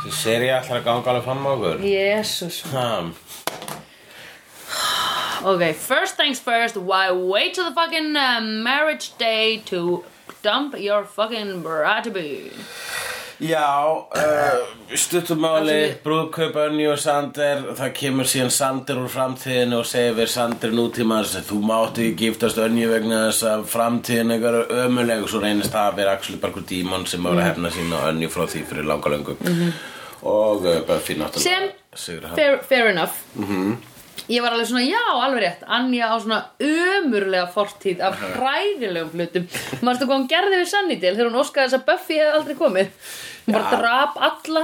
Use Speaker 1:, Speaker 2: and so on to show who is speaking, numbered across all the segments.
Speaker 1: Þessi seri ætlar að ganga alveg fram á okkur.
Speaker 2: Jésús
Speaker 1: Hmm.
Speaker 2: Ok, first things first, why wait till the fucking uh, marriage day to dump your fucking bratibu?
Speaker 1: Já, uh, stuttumáli,
Speaker 2: Ætli-
Speaker 1: brúðkaup Önni og Sander, það kemur síðan Sander úr framtíðinu og segir við Sander nútímans þú mátti ekki giftast Önni vegna þess að framtíðin ykkar er ömuleg og svo reynist það að vera axlu bara dímon sem var að hefna sín og Önni frá því fyrir langa löngu og uh, Buffy náttúrulega
Speaker 2: Sem-
Speaker 1: sigur hann.
Speaker 2: Fair, fair enough Ég var alveg svona, já, alveg rétt Anja á svona ömurlega fortíð af hræðilegum hlutum Manstu hvað hún gerði við Sunnydale þegar hún óskaði þess að Buffy hefði aldrei komið Hún bara drap alla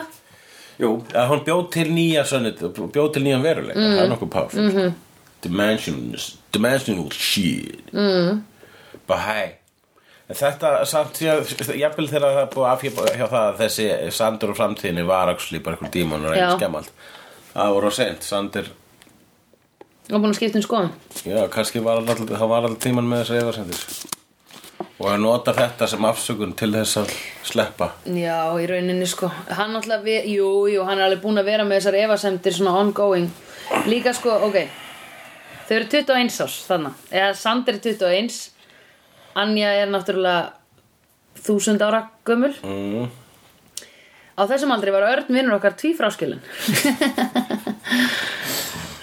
Speaker 1: Jú, að hún bjóð til nýja sönnit, bjóð til nýjan veruleika, það er nokkuð powerful mm -hmm. dimensional, dimensional shit mm. bara hæ En Þetta samt því að, jafnvel þegar það er búið afhjöpa hjá það að þessi Sandur og framtíðinni var axli bara einhver dímon og
Speaker 2: Já.
Speaker 1: reyndi skemmalt Það voru á seint, Sandur,
Speaker 2: Hún var búin að skipta um skoðum
Speaker 1: já, kannski var alltaf, það var alltaf tíman með þessi efarsendur Og að nota þetta sem afsökun til þess að sleppa
Speaker 2: Já, í rauninni sko Hann alltaf, við, jú, jú, hann er alveg búin að vera með þessar efasemdir svona ongoing Líka sko, ok Þau eru 21 árs þannig Eða Sander er 21 Anja er náttúrulega þúsund ára gömul mm. Á þessum aldri var Örn vinnur okkar tvífráskilin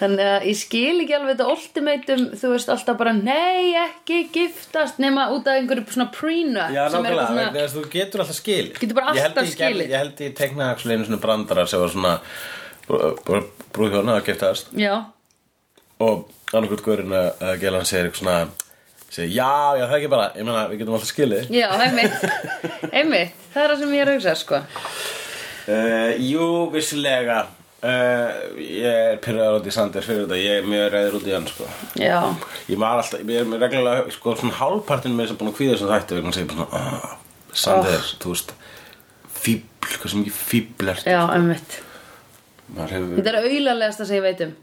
Speaker 2: Þannig að ég skil ekki alveg þetta ultimatum, þú veist, alltaf bara nei, ekki giftast nema út af einhverju svona prenup
Speaker 1: Já,
Speaker 2: sem er
Speaker 1: nákvæmlega,
Speaker 2: eitthvað
Speaker 1: svona... þess að þú getur alltaf skil
Speaker 2: Getur bara alltaf skilið.
Speaker 1: Ég held ég teknaði axlu einu svona brandara sem var svona brúðhjóna að giftast
Speaker 2: Já,
Speaker 1: og annarkvöld góðurinn að gæla hann segir eitthvað svona segir, já, já, það er ekki bara, ég meina, við getum alltaf skilið
Speaker 2: Já, einmitt, einmitt, það er það sem ég er að hugsa, sko
Speaker 1: Uh, jú, vissilega uh, Ég er pyrraður út í Sander fyrir þetta Ég er mjög reyður út í hann sko.
Speaker 2: Já,
Speaker 1: Ég var alltaf, ég er með reglulega sko, svona hálfpartinu með þess að búin að kvíða þessum þætti vegna segir bara svona, ah, Sander, þú veist fíbl, hvað sem ekki fíbl er
Speaker 2: já, einmitt
Speaker 1: Maður hefur
Speaker 2: Þetta er auðalegasta sem ég veit um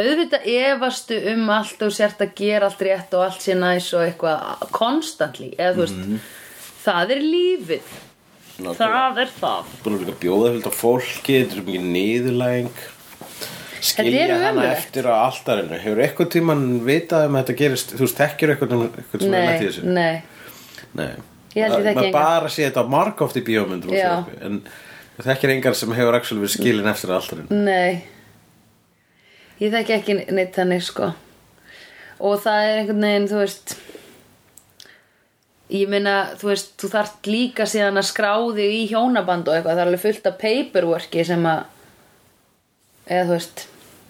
Speaker 2: Auðvitað efastu um allt og sért að gera allt rétt og allt sé næs og eitthvað konstantli, eða þú veist Það er lífið,
Speaker 1: Mhm. Nákvæmlega.
Speaker 2: það er það
Speaker 1: Búin að líka bjóða fylgta fólki, þetta er svo mikið niðurlæging
Speaker 2: er
Speaker 1: Skilja hana
Speaker 2: ömurlegt.
Speaker 1: eftir á altarinu Hefur eitthvað tímann vitað um að þetta gerist Þú veist, þekkir eitthvað um eitthvað sem er
Speaker 2: Nei,
Speaker 1: lett í þessu
Speaker 2: nei,
Speaker 1: Nei
Speaker 2: Ég held ég þekki
Speaker 1: Maður
Speaker 2: engan.
Speaker 1: bara sé þetta marg oft í bíómyndum og
Speaker 2: Já.
Speaker 1: sjónvarpi, En þekkir engan sem hefur actually verið skilin eftir á altarinu
Speaker 2: nei Ég þekki ekki neitt þannig, sko Og það er einhvern veginn, þú veist ég meina, þú veist, þú þarft líka síðan að skrá þig í hjónaband og eitthvað, það er alveg fullt af paperworki sem að eða þú veist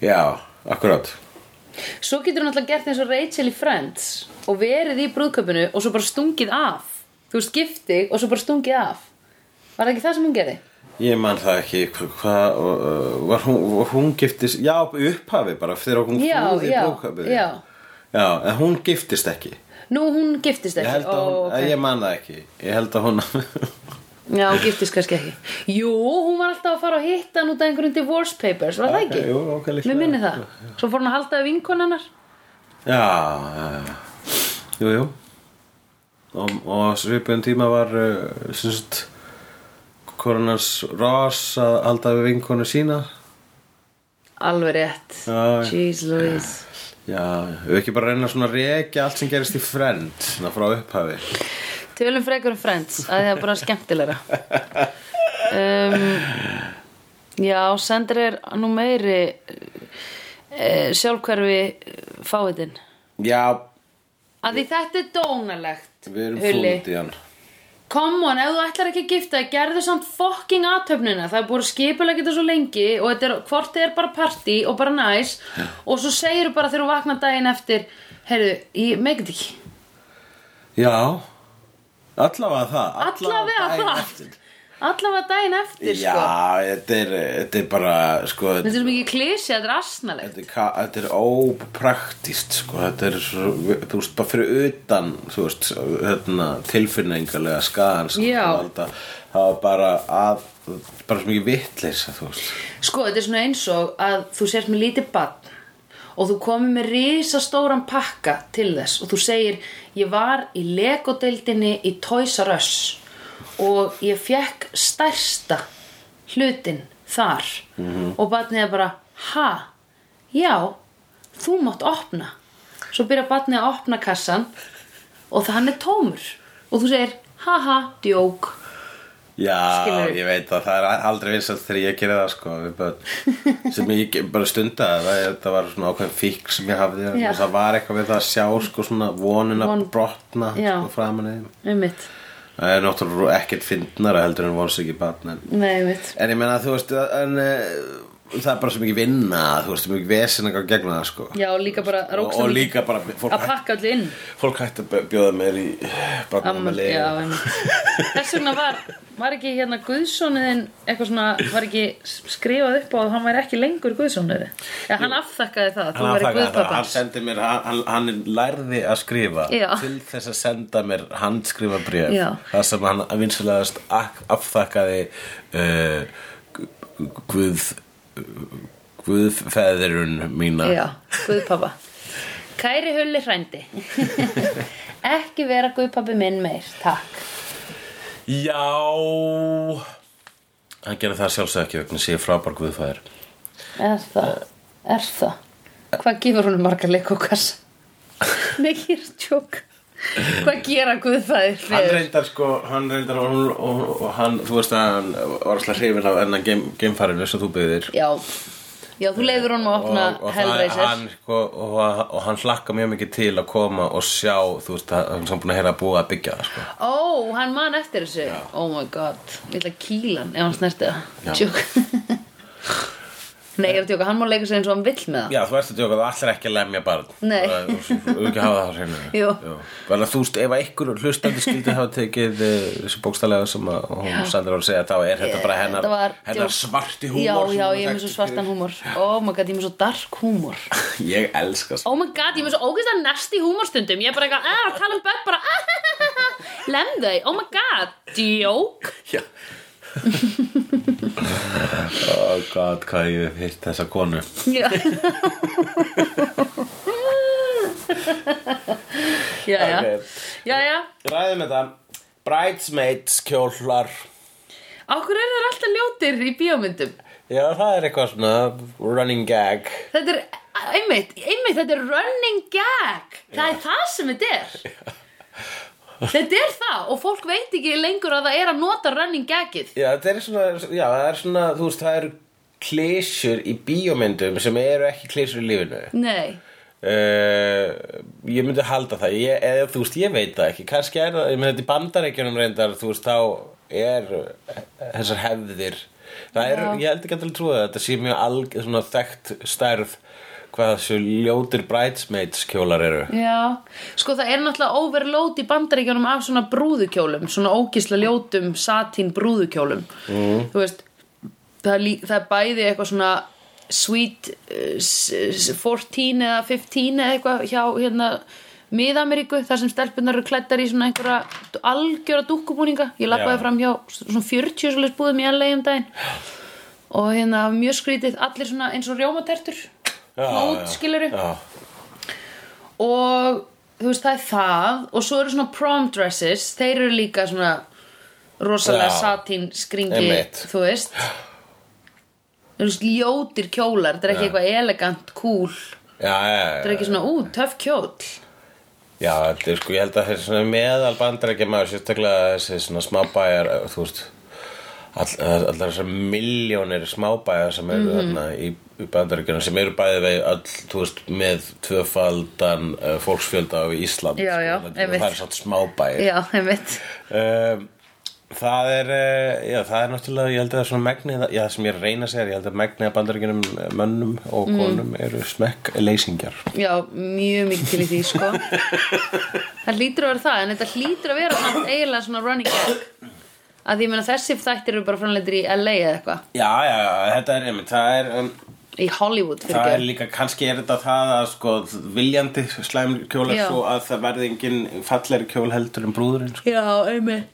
Speaker 1: Já, akkurát
Speaker 2: svo getur hún alltaf gert eins og Rachel í Friends og verið í brúðköpinu og svo bara stungið af þú veist, gift þig og svo bara stungið af var það ekki það sem hún gerði?
Speaker 1: Ég man það ekki hva- hvað uh, var hún, var hún giftist já, upphafi bara þegar hún
Speaker 2: Já,
Speaker 1: flúði
Speaker 2: já,
Speaker 1: brúðkaupið.
Speaker 2: já.
Speaker 1: já, en hún giftist ekki
Speaker 2: Nú, hún giftist
Speaker 1: Ég
Speaker 2: ekki
Speaker 1: held að hún,
Speaker 2: Ó,
Speaker 1: oh,
Speaker 2: ok.
Speaker 1: ég man það ekki Ég held að hún
Speaker 2: Já, hún giftist kannski ekki Jú, hún var alltaf að fara að hitta hann út af einhverjum divorce papers, var það
Speaker 1: Ok,
Speaker 2: ekki?
Speaker 1: jú, ok, líklega.
Speaker 2: Mér minni það Svo fór hún að halda af vinkonannar
Speaker 1: Já, já, já Jú, jú Og, og svipum tíma var uh, Sýnst Koronans Ross að halda við vinkonu sína
Speaker 2: Alveg rétt
Speaker 1: Já, já.
Speaker 2: Jeez Louise
Speaker 1: Já, við ekki bara reyna svona að rekja allt sem gerist í frend Svona frá upphafi
Speaker 2: Tölum frekar um Friends að það er bara skemmtilegra um, Já, sendur er nú meiri uh, sjálfhverfi fáiðin
Speaker 1: Já,
Speaker 2: að því þetta er dónalegt
Speaker 1: við erum
Speaker 2: Hulli.
Speaker 1: fúlut í hann
Speaker 2: Come on, ef þú ætlar ekki að gifta þig, gerðu samt fokking aðtöfnina það er búið að skipulega þetta svo lengi og þetta er, hvort þið er bara partí og bara næs og svo segirðu bara þegar þú vaknar daginn eftir heyrðu, ég meikið ekki
Speaker 1: Já, allavega það
Speaker 2: Allavega
Speaker 1: daginn
Speaker 2: það.
Speaker 1: eftir.
Speaker 2: allavega daginn eftir
Speaker 1: Já,
Speaker 2: sko
Speaker 1: þetta er, þetta er bara sko,
Speaker 2: Þetta er svo mikið klísi, þetta er asnalegt
Speaker 1: Þetta er, ka- þetta er ópraktist sko. þetta er svo, þú veist, bara fyrir utan þú veist, hérna, tilfinningalega sko, skaðan sem
Speaker 2: Já.
Speaker 1: þú valda, það var bara að, bara svo mikið vitleysa þú veist
Speaker 2: Sko, þetta er svona eins og að þú sért með lítið barn og þú komir með risastóran pakka til þess og þú segir, ég var í legodeildinni í Toys R Us og ég fekk stærsta hlutin þar
Speaker 1: Mhm.
Speaker 2: og batnið er bara ha, já þú mátt opna svo byrja batnið að opna kassan og það hann er tómur og þú segir haha, djók
Speaker 1: Já,
Speaker 2: Skilurðu?
Speaker 1: ég veit að það er aldrei vinsast þegar ég gerði það sko við börn sem ég ge- bara stundaði það, ég- það var svona ákveðin fík sem ég hafði
Speaker 2: Já.
Speaker 1: það var eitthvað við það að sjá sko svona vonuna
Speaker 2: Von-
Speaker 1: brotna
Speaker 2: Já.
Speaker 1: sko, framan í þeim
Speaker 2: einmitt,
Speaker 1: það er náttúrulega ekkert fyndnara heldur en vonst ekki barn en,
Speaker 2: nei einmitt
Speaker 1: en ég meina þú veist en, e, það er bara svo mikið vinna þú veist, svo mikið vesen að ganga gegna það sko
Speaker 2: já, og líka bara
Speaker 1: og,
Speaker 2: róksam
Speaker 1: og líka bara fólk,
Speaker 2: að
Speaker 1: hætt,
Speaker 2: pakka allir inn
Speaker 1: fólk hætti að bjóða mér í barnum
Speaker 2: Amma- já, einmitt. Þess vegna var, var ekki hérna guðsónuðin eitthvað svona, var ekki skrifað upp á að hann væri ekki lengur guðsónuði eða hann afþakkaði það, þú
Speaker 1: hann,
Speaker 2: væri
Speaker 1: afþakkaði það, hann
Speaker 2: guðpappans
Speaker 1: sendi mér hann, hann- hann lærði að skrifa
Speaker 2: Já.
Speaker 1: til þess að senda mér handskrifa bréf
Speaker 2: Já.
Speaker 1: það sem hann vinsulegast afþakkaði uh, gu- gu- guð guðfeðurinn mína
Speaker 2: já, guðpappa Kæri hulli hrændi ekki vera guðpappi minn meir, takk
Speaker 1: Já Hann gerði það sjálfsög ekki vegna sé frábær guðfæðir
Speaker 2: er það, er það hvað gefur hún marga leikókas nei, ég er tjók hvað gera guðfæðir
Speaker 1: Hann
Speaker 2: fyrir?
Speaker 1: reyndar sko, hann reyndar og, og, og, og hann, þú veist að hann var alltaf hrifin af enna geim, geimfærinu sem þú byggðir
Speaker 2: já, já, þú leifur honum að opna
Speaker 1: og, og, það-
Speaker 2: Hellraiser
Speaker 1: hann, sko, og, og hann hlakka mjög mikið til að koma og sjá þú veist að hann sem búin að heyra að búa að byggja það sko.
Speaker 2: Ó, hann man eftir þessu Oh my god, ég ætla að kýla hann ef hann snerti
Speaker 1: Já.
Speaker 2: það Tjók Nei, ég er að tjóka, hann má leika sér eins og hann vill með það
Speaker 1: Já, þú ert að djóka, þú allir ekki að lemja barn
Speaker 2: Nei.
Speaker 1: Bara, þú- þú- Þú ekki hafa það á hreinu
Speaker 2: Jú.
Speaker 1: Vel að þú veist, ef einhver hlustandi skildi hafa tekið eh, þessu bókstælega sem að hún sandur á að segja þá er þetta bara hennar,
Speaker 2: Þetta var
Speaker 1: hennar
Speaker 2: djók.
Speaker 1: svarti
Speaker 2: Já,
Speaker 1: húmor sem
Speaker 2: já,
Speaker 1: hún
Speaker 2: ég er með
Speaker 1: þekkti
Speaker 2: svo svartan
Speaker 1: fyrir.
Speaker 2: húmor Oh my god, ég er með svo dark húmor
Speaker 1: Ég elska svo
Speaker 2: Oh my god, ég er með svo ógeðslega næsti húmor stundum Ég er bara eitthvað, að tala um börn bara "Ah, Lem þau, oh my god Djók
Speaker 1: Já Oh god, hvað ég hef hitt þessa konu
Speaker 2: Já Já, já
Speaker 1: Ok.
Speaker 2: Já, já
Speaker 1: Ræðum þetta Bridesmaids kjólar
Speaker 2: Akkur er þeir alltaf ljótir í bíómyndum
Speaker 1: Já, það er eitthvað svona running gag
Speaker 2: Þetta er, einmitt, einmitt, þetta er running gag. Það er það sem þetta er. Þetta er það og fólk veit ekki lengur að það er að nota running gagið.
Speaker 1: Já, þetta er svona, já, það er svona, þú veist, það eru klísjur í bíómyndum sem eru ekki klísjur í lífinu
Speaker 2: Nei,
Speaker 1: Uh, ég myndi halda það ég, eða þú veist, ég veit það ekki kannski er það, ég myndi þetta í bandarækjunum reyndar þú veist, þá er eh, þessar hefðir það er, ég held ekki að trúa það, þetta sé mjög alg, svona þekkt stærð hvað þessu ljótir bridesmaids kjólar eru
Speaker 2: já. Sko það er náttúrulega overload í bandaríkjunum af svona brúðukjólum, svona ógisla ljótum satín brúðukjólum. Mm. Þú veist, það er, lí- það er bæði eitthvað svona sweet eh, s- s- 14 eða 15 eða eitthvað hjá hérna Mið-Ameríku, þar sem stelpunar eru klættar í svona einhverja algjöra dúkkubúninga ég lappaði
Speaker 1: Já.
Speaker 2: fram hjá svona 40 svolítið búðum í LA um daginn og hérna mjög skrítið, allir svona eins og rjómatertur út, skilurðu
Speaker 1: já,
Speaker 2: og þú veist það er það og svo eru svona prom dresses þeir eru líka svona rosalega
Speaker 1: Já.
Speaker 2: satín skringi
Speaker 1: Einmitt.
Speaker 2: þú veist þú veist ljótir kjólar þetta er ekki eitthvað elegant, cool þetta
Speaker 1: já, já,
Speaker 2: er
Speaker 1: já,
Speaker 2: ekki svona ú, töff kjól
Speaker 1: já þetta er sko, ég held að þessi svona meðal bandarækja maður sérstaklega þessi svona smábæjar eh, þú veist all, allar þessar miljónir smábæjar sem
Speaker 2: Mhm.
Speaker 1: eru þarna í, í bandarækjunum sem eru bæði vegi all, þú veist, með tvöfaldan uh, fólksfjölda á Ísland
Speaker 2: Já,
Speaker 1: sko,
Speaker 2: já,
Speaker 1: það-
Speaker 2: einmitt.
Speaker 1: það er svona smábæjar
Speaker 2: já, einmitt
Speaker 1: Um, Það er, eh, já, það er náttúrulega, ég held að það er svona megnið, já, það sem ég er að reyna að segja, er, ég held að megnið að bandaríkjunum eh, mönnum og
Speaker 2: Mhm.
Speaker 1: konum eru smekk leysingjar.
Speaker 2: já, mjög mikið til í því sko það hlýtur að vera það en þetta hlýtur að vera samt eiginlega svona running gag að því ég meina þessi þættir eru bara framleitir í LA eða eitthvað
Speaker 1: Já, já, já, þetta er einmitt, það er, um,
Speaker 2: í Hollywood fyrir
Speaker 1: það er líka, kannski er þetta það að sko viljandi slæm kjóla
Speaker 2: Já.
Speaker 1: svo að það verði engin fallegri kjól heldur en brúðurinn, sko.
Speaker 2: já, einmitt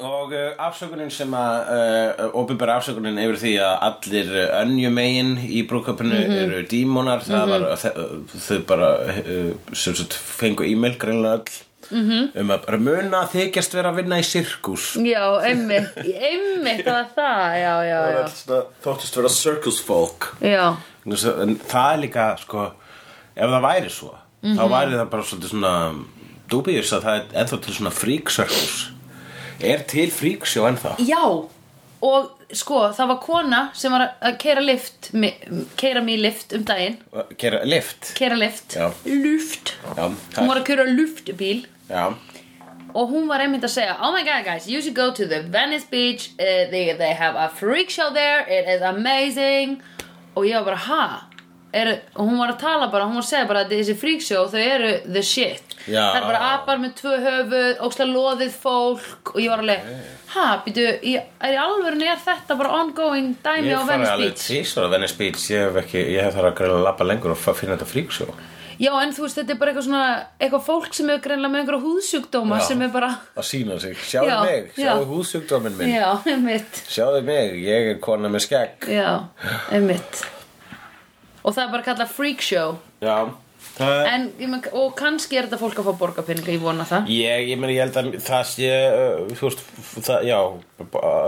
Speaker 1: Og uh, afsökunin sem að, uh, ofinbæra afsökunin yfir því að allir önnjumegin í brúköpunu
Speaker 2: Mhm.
Speaker 1: eru uh, dímonar, það var, þau, þau bara, uh, sem sagt, fengu e-mail greinlega all -hmm. um að bara muna að þykjast vera að vinna í sirkus
Speaker 2: Mhm. Já, einmitt, einmitt það var það, já, já,
Speaker 1: Það er
Speaker 2: já
Speaker 1: allt svona, þóttist vera circus folk
Speaker 2: Já,
Speaker 1: en það er líka sko, ef það væri svo þá
Speaker 2: Mhm.
Speaker 1: væri það bara svolítið svona dúbíus að það er ennþá til svona freak circus er til freak show ennþá
Speaker 2: já og sko, það var kona sem var að keira lift keira mig í lift um daginn
Speaker 1: gera lift
Speaker 2: keira lift,
Speaker 1: Já.
Speaker 2: luft
Speaker 1: já, það,
Speaker 2: hún var að keira luftbíl
Speaker 1: já,
Speaker 2: og hún var einmitt að segja oh my god guys, you should go to the Venice Beach uh, they, they have a freak show there it is amazing og ég var bara ha er, og hún var að tala bara, hún var að segja bara að þessi freak show þau eru the shit
Speaker 1: Já.
Speaker 2: það er bara apar með tvö höfuð óksla loðið fólk og ég var alveg ha, býtu, ég, er í alvörinu er þetta bara ongoing dæmi
Speaker 1: ég
Speaker 2: á
Speaker 1: farið
Speaker 2: Venice
Speaker 1: alveg
Speaker 2: Beach
Speaker 1: tísar á Venice Beach ég hef, ekki, ég hef þarf að græla labba lengur og fa- finna þetta freak show
Speaker 2: já, en þú veist, þetta er bara eitthvað svona eitthvað fólk sem er greinlega með einhverja húðsjúkdóma
Speaker 1: Já.
Speaker 2: sem er bara,
Speaker 1: að sína sig, sjáðu
Speaker 2: Já,
Speaker 1: mig,
Speaker 2: já.
Speaker 1: sjáðu húsjúkdómin minn
Speaker 2: já, mitt
Speaker 1: sjáðu mig, ég er kona með skegg
Speaker 2: Já, einmitt Og það er bara að kalla freak show
Speaker 1: já, það
Speaker 2: en, ég menn, Og kannski er þetta fólk að fá borgarpenninga Ég vona það
Speaker 1: Ég, ég meni, ég held að það sé, uh, þú veist, f- það, já,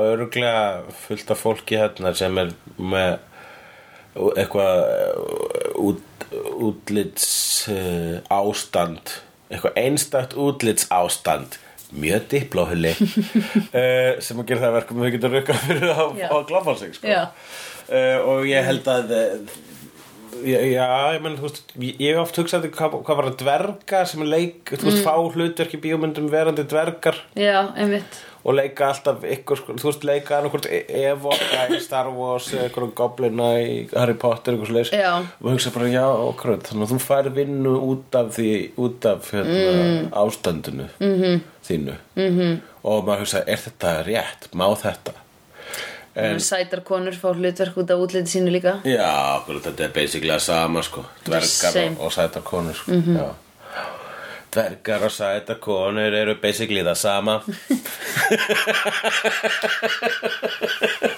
Speaker 1: öruglega fullt af fólki hérna sem er með eitthvað uh, út, útlits uh, ástand, eitthvað einstakt útlits ástand, mjög diplóhulli, uh, sem að gera það að verkum að þau getur rukkað fyrir að,
Speaker 2: Já.
Speaker 1: að glapa sig, sko.
Speaker 2: Já.
Speaker 1: Uh, og ég held að uh, Já, já, ég menn, þú veist, ég ég hef oft hugsað hvað, hvað var að dverga sem leik, þú veist, fá hlutverk í bíómyndum verandi dvergar
Speaker 2: Já, einmitt
Speaker 1: og leika alltaf ykkur, sko, þú veist, leika annarkvort Evoka í Star Wars eða ykkur goblina í Harry Potter ykkur svoleiðis
Speaker 2: Já.
Speaker 1: og hugsa bara, já, okkur, þannig að þú fær vinnu út af því, út af hérna, ástandinu -hmm. þínu -hmm. og maður hugsa, er þetta rétt, má þetta?
Speaker 2: en, Sætar konur fá hlutverk út af útliti sínu líka
Speaker 1: Já, okkur, þetta er basically að sama sko Dvergar
Speaker 2: Same. Mhm.
Speaker 1: og, og sætar konur sko. Já. Dvergar og sætar konur eru basically það sama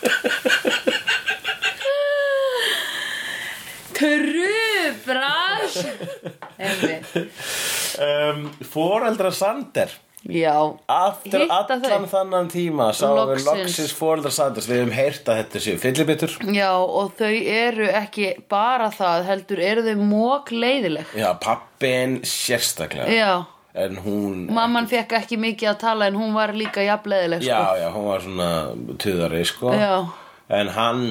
Speaker 2: Trubras Einmitt
Speaker 1: um, Fóreldra Sander
Speaker 2: Já
Speaker 1: Aftur
Speaker 2: Hitta
Speaker 1: allan
Speaker 2: þau.
Speaker 1: þannan tíma sáum við
Speaker 2: Loksins.
Speaker 1: loksins fóreldra Sanders Við hefum heyrt að þetta séu fyllibitur
Speaker 2: Já, og þau eru ekki bara það heldur, eru þau mók leiðileg
Speaker 1: Já, pappin sérstaklega
Speaker 2: Já,
Speaker 1: En hún
Speaker 2: mamman fekk ekki mikið að tala en hún var líka jafnleiðileg sko.
Speaker 1: Já, já, hún var svona tuðari sko
Speaker 2: Já.
Speaker 1: En hann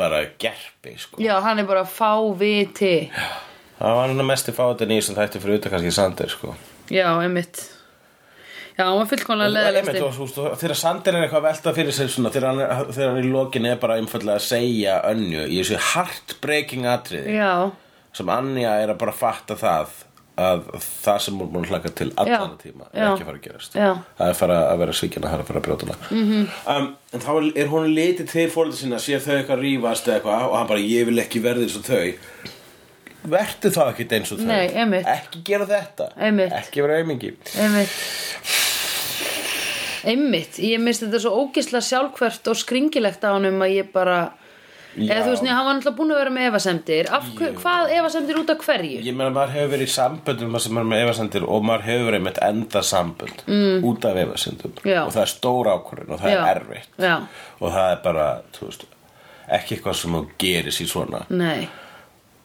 Speaker 1: bara gerpi sko
Speaker 2: Já, hann er bara fáviti
Speaker 1: Það var hann að mestu fátin í sem þætti fyrir utan kannski Sander sko
Speaker 2: Já, einmitt Já, hann var fullkomlega
Speaker 1: Einmitt,
Speaker 2: leðilegasti
Speaker 1: og, þú veist, og þegar Sander er eitthvað að velta fyrir sér svona, þegar, hann, þegar hann í lokin er bara einfallega að segja önju í þessu heartbreaking atriði
Speaker 2: Já,
Speaker 1: sem Anja er að bara fatta það að það sem hún er búin að hlaka til allan
Speaker 2: Já,
Speaker 1: tíma er
Speaker 2: já,
Speaker 1: ekki að fara að gerast
Speaker 2: já. Mhm.
Speaker 1: það er fara að vera svíkjana, það er að fara að brjóta hana mm -hmm. um, en þá er- er hún litið til fóreldur sinna sér þau eitthvað rífast eða eitthvað og hann bara ég vil ekki verði eins og þau vertu þá ekki eins og þau
Speaker 2: Nei, einmitt.
Speaker 1: ekki gera þetta
Speaker 2: Einmitt.
Speaker 1: ekki vera aumingi
Speaker 2: einmitt Einmitt, ég misti þetta svo ógisla sjálfkvært og skringilegt á hann um að ég bara
Speaker 1: Já.
Speaker 2: Eða þú veist, nei, hann var náttúrulega búin að vera með efasemdir Af hver, hvað efasemdir út af hverju?
Speaker 1: Ég meina maður hefur verið í samböndum sem maður er með efasendir og maður hefur verið með enda sambönd mm. út af efasendum
Speaker 2: Já.
Speaker 1: og það er stóra ákvörðin og það
Speaker 2: Já.
Speaker 1: er erfitt
Speaker 2: Já.
Speaker 1: og það er bara, þú veist ekki eitthvað sem þú gerir sér svona
Speaker 2: Nei,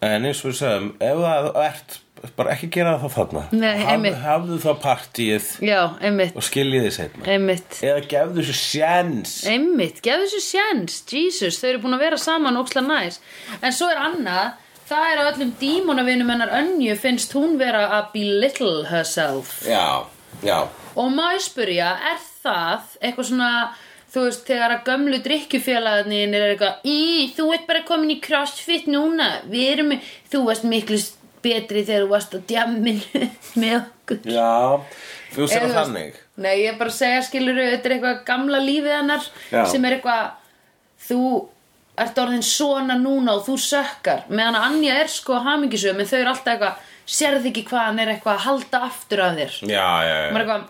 Speaker 1: en eins og við segjum, ef það ert bara ekki gera það þarna
Speaker 2: Nei, einmitt.
Speaker 1: hafðu þá partíið
Speaker 2: já, einmitt
Speaker 1: og skiljið þið seinna
Speaker 2: Einmitt
Speaker 1: eða gefðu þessu sjens
Speaker 2: Einmitt, gefðu þessu sjens, Jesus, þau eru búin að vera saman óksla næs. En svo er annað, það er að öllum dímonavinum hennar önju finnst hún vera að belittle herself.
Speaker 1: Já, já
Speaker 2: Og má ég spyrja, er það eitthvað svona, þú veist, þegar að gömlu drikkjufélagarnir er eitthvað, í, þú ert bara komin í crossfit núna, við erum, þú varst miklu betri þegar þú varst á djamminu með okkur.
Speaker 1: Já, þú segir
Speaker 2: Eða þú veist-
Speaker 1: þannig
Speaker 2: Nei, ég er bara að segja, skilur þetta er eitthvað gamla lífið hennar
Speaker 1: Já.
Speaker 2: sem er eitthvað þú ert orðin svona núna og þú sökkar meðan að Anja er sko hamingisöfum en þau eru alltaf eitthvað, sérð ekki hvað hann er eitthvað að halda aftur af þér
Speaker 1: Já, já, já
Speaker 2: maður er eitthvað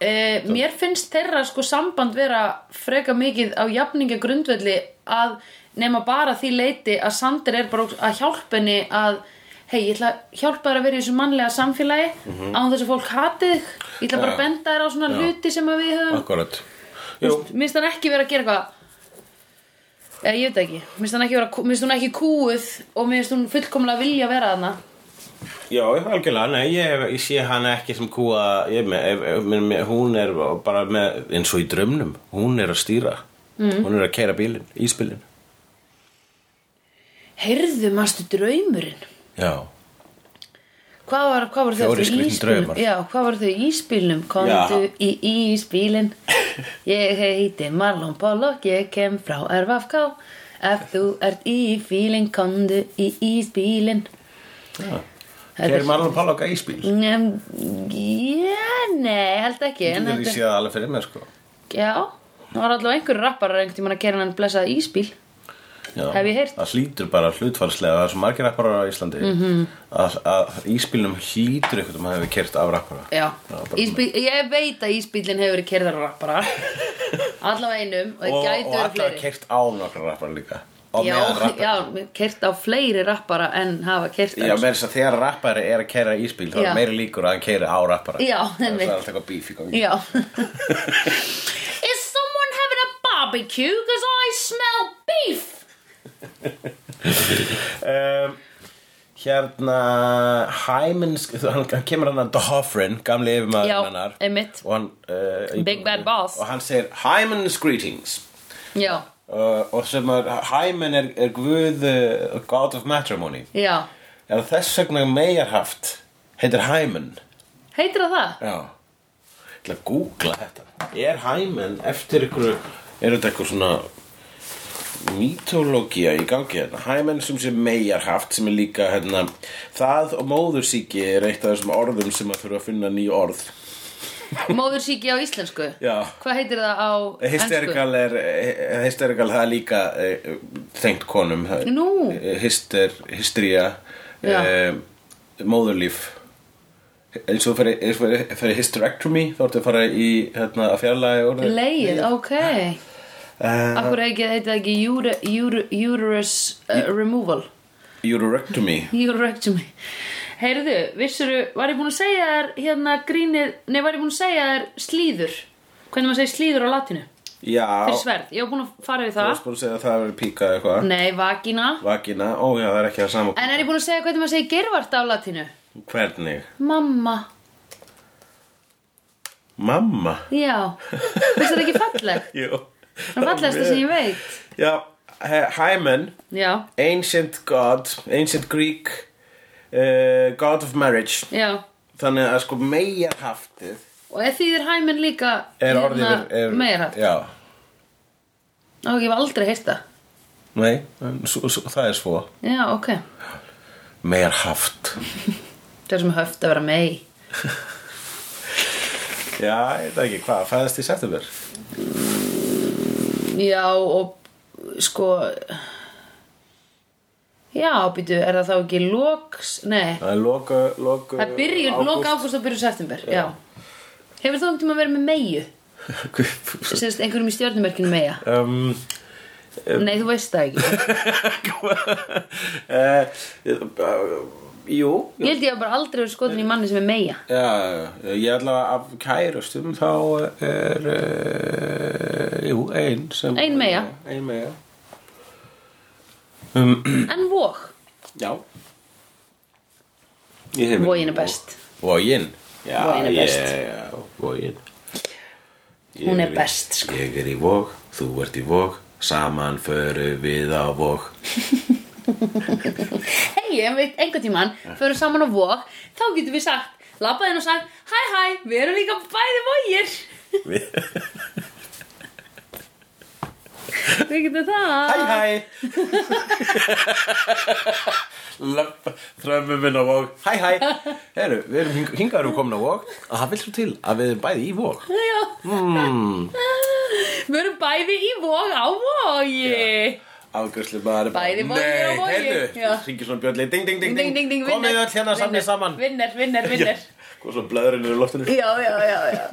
Speaker 2: e, mér finnst þeirra sko samband vera freka mikið á jafninga grundvelli að nema bara því leiti að Sander er bara að hjálpa henni að hei, ég ætla að hjálpa þér að vera í þessu mannlega samfélagi án þess að fólk hati þig ég ætla bara
Speaker 1: Mhm. Já.
Speaker 2: að benda þér á svona
Speaker 1: Já.
Speaker 2: hluti sem að við höfum
Speaker 1: akkurat
Speaker 2: Þú
Speaker 1: Jú,
Speaker 2: veist, minnst hann ekki vera að gera eitthvað eða ég veit það ekki minnst hann ekki vera, minnst hún ekki kúið og minnst hún fullkomlega vilja vera þarna
Speaker 1: já, algjörlega, nei, ég, hef- ég sé hana ekki sem kúa, ég, me, me, me, me, hún er bara með, eins og í drömnum, hún er að stýra, mm. hún er að keira bílinn, íspilinn.
Speaker 2: heyrðu, manstu draumurinn
Speaker 1: Já,
Speaker 2: hvað var, hvað var þau
Speaker 1: Fjórir
Speaker 2: aftur í
Speaker 1: skrýtnir
Speaker 2: íspilnum
Speaker 1: draumar.
Speaker 2: já, hvað var þau í íspilnum komdu
Speaker 1: Já.
Speaker 2: í íspilin ég heiti Marlon Pollock ég kem frá RFK ef þú ert í fílin komdu í íspilin
Speaker 1: já.
Speaker 2: Þetta er-
Speaker 1: Keir Marlon Pollock að íspil.
Speaker 2: Nefn, já, nei, held ekki en
Speaker 1: Ég
Speaker 2: þetta-
Speaker 1: sé það alveg fyrir mér, sko.
Speaker 2: Já, það var allavega einhver rappar einhvern tímann að gera hann blessað ísbíl
Speaker 1: Já,
Speaker 2: Hef ég heyrt.
Speaker 1: Það hlýtur bara hlutfalslega, það er svo margir rapparar á Íslandi -hmm.
Speaker 2: Mhm.
Speaker 1: að, að íspilnum hlýtur eitthvað um að hefur kert af rappara.
Speaker 2: Já,
Speaker 1: bara-
Speaker 2: ísbíl, ég veit að ísbílinn hefur verið kerðar á rappara Allavega einum og það
Speaker 1: og,
Speaker 2: gætu
Speaker 1: og
Speaker 2: verið
Speaker 1: allar
Speaker 2: fleiri
Speaker 1: kert á nokkra rappara líka. Og
Speaker 2: Já,
Speaker 1: meðan rappara.
Speaker 2: já, kert á fleiri rappara en hafa kert
Speaker 1: Já, með þess að þegar rappari er að keira íspil þá
Speaker 2: Já.
Speaker 1: er meiri líkur að hann keira á rappara
Speaker 2: Já,
Speaker 1: Það er
Speaker 2: einmitt.
Speaker 1: alltaf eitthvað bíf í gangi
Speaker 2: já. Is someone having a barbecue? Because I smell beef
Speaker 1: um, Hérna Hyman, hann, hann kemur hann að Dohofrin, gamli
Speaker 2: Já,
Speaker 1: yfirmaður hennar
Speaker 2: einmitt.
Speaker 1: og hann, uh,
Speaker 2: Big bad boss.
Speaker 1: Og hann segir Hyman's greetings
Speaker 2: Já,
Speaker 1: uh, og sem er, Hyman er, er guð uh, God of Matrimony
Speaker 2: já,
Speaker 1: er þess vegna megarhaft heitir Hyman
Speaker 2: heitir það það?
Speaker 1: Já Ég ætla að googla þetta Er hæmen eftir ykkur Er þetta eitthvað svona Mítológía í gangi hérna Hæmen sem sé megar haft sem er líka hérna, Það og móðursíki er eitt af þessum orðum sem að þurfa að finna ný orð
Speaker 2: Móðursíki á íslensku?
Speaker 1: Já.
Speaker 2: Hvað heitir það á
Speaker 1: Hysterikal er Hysterikal það er líka eh, Tengt konum það-
Speaker 2: Nú.
Speaker 1: eh, Hyster, hystería
Speaker 2: Já.
Speaker 1: eh, Móðurlíf eins og fyrir, eins og fyrir, fyrir hysterectomy þá ertu að fara í hérna, að fjarlæga orðið.
Speaker 2: Leið, ok
Speaker 1: Eh,
Speaker 2: Akkur ekki, heita ekki ure- ure- uterus uh, removal
Speaker 1: Urectomy
Speaker 2: Urectomy Heyrðu, vissuru, var ég búin að segja þér hérna grínið, nei var ég búin að segja þér slíður Hvernig maður segir slíður á latinu?
Speaker 1: Já,
Speaker 2: Fyrir sverð, ég var búin að fara við
Speaker 1: þú
Speaker 2: það
Speaker 1: varst búin að segja að það verið píka eitthvað
Speaker 2: Nei, vagina
Speaker 1: Vagina, ó já, það er ekki það sama
Speaker 2: En er ég búin að segja hvernig maður segir gervart á latinu?
Speaker 1: Hvernig?
Speaker 2: Mamma,
Speaker 1: Mamma
Speaker 2: já Vist það ekki falleg?
Speaker 1: Jú
Speaker 2: Það fallegast það sem ég veit
Speaker 1: Já, he- Hymen,
Speaker 2: Já,
Speaker 1: ancient god, ancient Greek uh, god of marriage
Speaker 2: já
Speaker 1: Þannig að sko megar haftið
Speaker 2: Og ef þýðir hæminn líka hérna
Speaker 1: Er orðið er, er,
Speaker 2: meira
Speaker 1: Já,
Speaker 2: Ná, ég hef aldrei heyrt það
Speaker 1: nei, en svo, svo, það er svo
Speaker 2: Já, ok.
Speaker 1: Megar haft
Speaker 2: Það er sem höft að vera mei.
Speaker 1: Já, ég veit ekki hvað, fæðast í september
Speaker 2: Já, og sko... Já, býtu, er það þá ekki loks... Nei,
Speaker 1: Það er loka, loka
Speaker 2: það byrjur, loka ágúst og byrjur september, já. Hefur þú einhvern tímann verið með meiu?
Speaker 1: ágúst
Speaker 2: Sérst, einhverjum í stjörnumerkinu meia?
Speaker 1: um,
Speaker 2: Nei, þú veist það ekki.
Speaker 1: uh, Jú
Speaker 2: Ég held ég að bara aldrei verið skotin í manni sem er meia.
Speaker 1: Já, ég ætla af kærustum þá er uh, jú, ein sem
Speaker 2: Ein meyja.
Speaker 1: Ein meja
Speaker 2: En vóg,
Speaker 1: Já Ég hef-
Speaker 2: vógin er best.
Speaker 1: Vogin Já,
Speaker 2: Vogin er best.
Speaker 1: ég- já, Vogin Ég
Speaker 2: Hún
Speaker 1: er
Speaker 2: er
Speaker 1: í-
Speaker 2: best, sko.
Speaker 1: Ég er í vog, þú ert í vog Saman förum við á vog
Speaker 2: Hei, en við einhvern tímann förum saman á vóg, þá getum við sagt, labbaðin og sagt, hæ, hæ, við erum líka bæði vógir. Við getum það.
Speaker 1: Hæ hæ Löpp Þrömmum minn á vóg Hæ hæ Heru, Við erum hing hingaður og komin á vóg og það vil svo til að við erum bæði í vóg
Speaker 2: Já. Hmm. Við erum bæði í vóg á vogi.
Speaker 1: Afgjörslu maður er bara,
Speaker 2: Bæði Vogi
Speaker 1: Nei,
Speaker 2: og Vogi." Já.
Speaker 1: heyrðu Ringir svona björnli Ding ding ding
Speaker 2: Ding, ding, ding,
Speaker 1: Komið öll hérna samnið saman
Speaker 2: Vinner, vinner, vinner.
Speaker 1: Og Sko, svo blöðurinn eru í loftinu
Speaker 2: Já, já, já, já.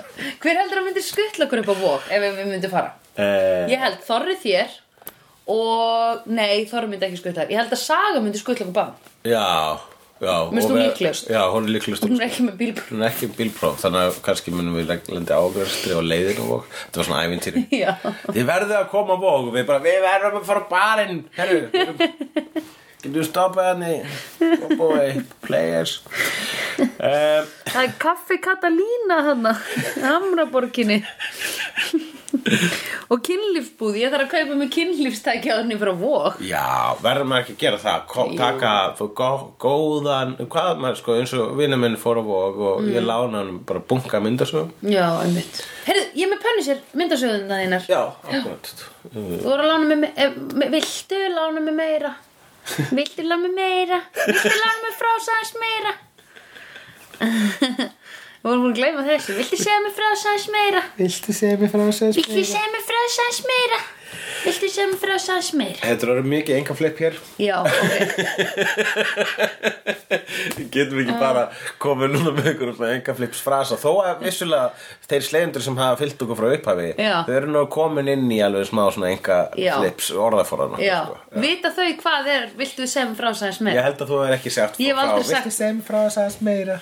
Speaker 2: Hver heldur að myndir skuttla okkur upp á vóg ef við myndum fara?
Speaker 1: eh,
Speaker 2: Ég held Þorri þér og... Nei, Þorri myndi ekki skuttla. þér. Ég held að Saga myndi skuttla okkur bá.
Speaker 1: Já já, og
Speaker 2: Mér finnst hún
Speaker 1: við-
Speaker 2: líklegust.
Speaker 1: Já, hún er líklegust
Speaker 2: Hún er ekki með bílpróf
Speaker 1: Hún er ekki bílpróf, þannig að kannski munum við legg- lendi áverstri og leiðin og þetta var svona ævintýri
Speaker 2: Já,
Speaker 1: Þið verðið að koma á vóg Við bara, við verðum að fara á barinn Herru Getum við stoppað henni Oh boy, players um,
Speaker 2: það er kaffi Katalína hana Hamraborginni Og kynlífsbúð Ég þarf að kaupa mig kynlífstæki á henni frá vók
Speaker 1: Já, verður maður ekki að gera það Kom, Taka fó- gó, góðan Hvað maður, sko, eins og vinur minn fór á vóg Og
Speaker 2: Mm.
Speaker 1: ég lána hann bara bunga myndasögum
Speaker 2: Já, einmitt Herðu, ég er með pönnisir, myndasöðuna þínar
Speaker 1: Já, akkurat
Speaker 2: Þú voru að lána mig, me- eh, me- viltu lána mig meira? Viltu lána mig meira? Viltu lána mig frá sæðis meira? Við vorum búin að gleyma þessu Viltu segja mig frá sæðis meira?
Speaker 1: Viltu segja mér frá þess
Speaker 2: Viltu segja mig frá sæðis meira? Viltu segja mig frá sæðis meira?
Speaker 1: Þetta eru mikið enga flip hér
Speaker 2: Já, ok
Speaker 1: Getum
Speaker 2: Ah.
Speaker 1: við ekki bara komið núna með einhverjum svona enga flips frasa Þó að vissulega þeir slegjendur sem hafa fyllt okkur frá upphafi
Speaker 2: Já.
Speaker 1: Þau eru nú komin inn í alveg smá svona enga
Speaker 2: Já.
Speaker 1: flips orðaforðana
Speaker 2: Já,
Speaker 1: sko.
Speaker 2: vita þau hvað er Viltu segja mig frá sæðis
Speaker 1: Ég
Speaker 2: meira?
Speaker 1: held að þú hefur ekki sagt
Speaker 2: Ég hef
Speaker 1: frá-
Speaker 2: aldrei
Speaker 1: Viltu
Speaker 2: sagt-
Speaker 1: segja mér frá þess aðeins meira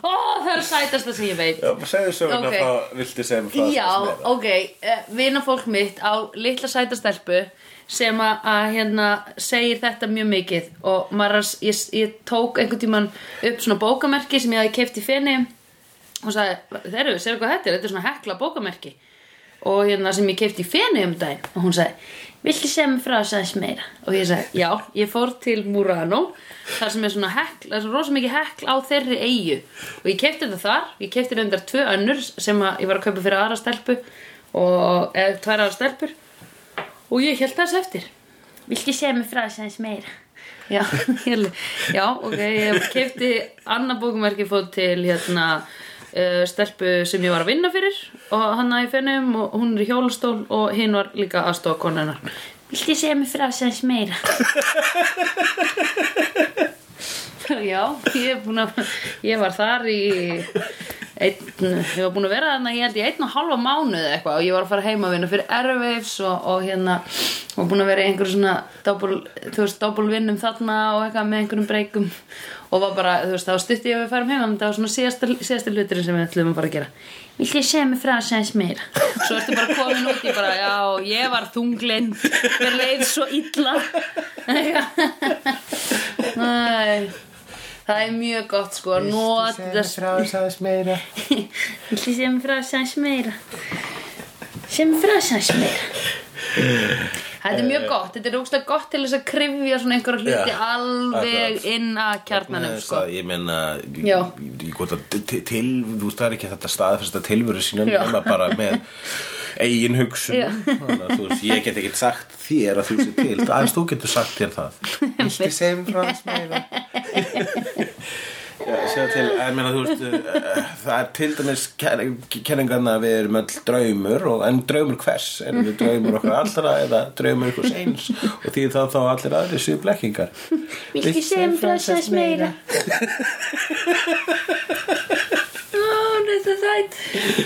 Speaker 2: Ó, það er sætasta sem ég veit
Speaker 1: Já, segðu söguna
Speaker 2: Ok.
Speaker 1: okay. frá Viltu segja mér frá þess aðeins
Speaker 2: Já,
Speaker 1: meira
Speaker 2: ok, eh, vinafólk mitt á litla sæta stelpu sem að, að hérna segir þetta mjög mikið og maður, að- ég, ég tók einhvern tímann upp svona bókamerki sem ég hafði keift í fenni og sagði, þeir eru, sér hvað þetta er, þetta er svona hekla bókamerki og hérna sem ég keift í fenni um daginn og hún sagði, viltu sem frá þess aðeins meira og ég sagði, já, ég fór til Murano þar sem er svona hekla, þar sem er rosa mikið hekla á þeirri eigu og ég keipti þetta þar, ég keipti reyndar tvö önnur sem að ég var að kaupa fyrir aðra stelpu og, eða tvær aðra stelpur og ég held þess eftir Viltu segja mig frá þess aðeins meira? Já, ég- já, ok, ég kefti annað bókumerki fóð til hérna uh, stelpu sem ég var að vinna fyrir og hann að ég fennum og hún er í hjólastól og hinn var líka aðstofa konunar Viltu segja mig frá þess aðeins meira? Já, ég er búin að ég var þar í einn, ég var búin að vera þarna ég held í einn og halva mánuð eða eitthvað og ég var að fara heim að vinna fyrir Airwaves og, og hérna, var búin að vera í einhverjum svona doppul, þú veist, doppulvinnum þarna og eitthvað með einhverjum breykum og var bara, þú veist, þá stutti ég að við færum heim en það var svona síðasta, síðasta hluturinn sem við ætlum að fara að gera Viltu ég segja mig frá að segja meira? Svo ertu bara komin út í bara, já, ég var þunglinn, mér leið svo illa. Æ, Það er mjög gott sko að nota
Speaker 1: þess aðeins meira
Speaker 2: Viltu sem frá sæns meira Sem frá sæns meira Þetta er mjög gott Þetta er ógstlega gott til þess að krifja svona einhverja hluti
Speaker 1: Eh. Já,
Speaker 2: alveg
Speaker 1: akkurat.
Speaker 2: inn að kjarnanum
Speaker 1: Nei,
Speaker 2: sko
Speaker 1: það, Eh, Ég meina ég-
Speaker 2: Já.
Speaker 1: ég- ég- gott að til- til- Þú veist það er ekki þetta staðfesta tilveru sína
Speaker 2: Já.
Speaker 1: nema bara með eigin
Speaker 2: Já.
Speaker 1: hugsun Þannig að þú veist, ég get ekki sagt þér að þú sé til aðeins þú getur sagt þér það Viltu segja mér frá þess meira Já, sjá til, ég meina þú veist eh, það er til dæmis kenningarna að við erum öll draumur og, en draumur hvers, erum við draumur okkar allra eða draumur ykkur eins og því þá þá allir aðri séu blekkingar
Speaker 2: Viltu sem frá sæns meira Ó, hún er svo sætt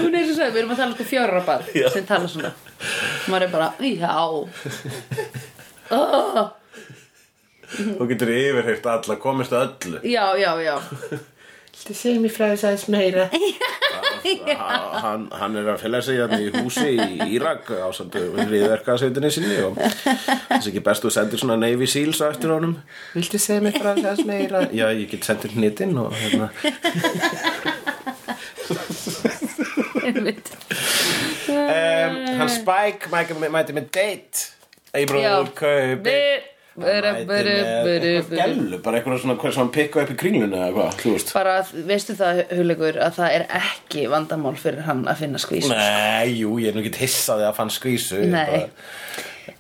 Speaker 2: Hún er svo sætt, við erum að tala sko fjóra bar
Speaker 1: Já.
Speaker 2: sem tala svona maður er bara, já oh,
Speaker 1: Þú getur yfirheyrt alla, komist að öllu
Speaker 2: Já, já, já
Speaker 3: Þetta segir mér frá þess aðeins meira.
Speaker 1: Ha- hann, hann er að fela sig hann í húsi í Írak á samt hriðverkaðsveitinni sinni og þess ekki best þú sendir svona Navy Seals á eftir honum
Speaker 3: Viltu segja mér frá þess aðeins meira?
Speaker 1: Já, ég get sendir hnitinn og hérna
Speaker 2: Einmitt.
Speaker 1: um, Hann Spike mæti, mæti með date
Speaker 2: Já.
Speaker 1: Eibróður kaupi
Speaker 2: Bi- bara-
Speaker 1: Hann mæti
Speaker 2: bara-
Speaker 1: með
Speaker 2: bara-
Speaker 1: eitthvað
Speaker 2: bara-
Speaker 1: gælu, bara eitthvað svona hvað sem hann pikka upp í kringlunni eða hvað, þú veist
Speaker 2: bara, veistu það, Hulegur að það er ekki vandamál fyrir hann að finna skvís
Speaker 1: Nei, jú, ég er nú ekki hissaði að fann skvísu ég
Speaker 2: Nei.
Speaker 1: bara-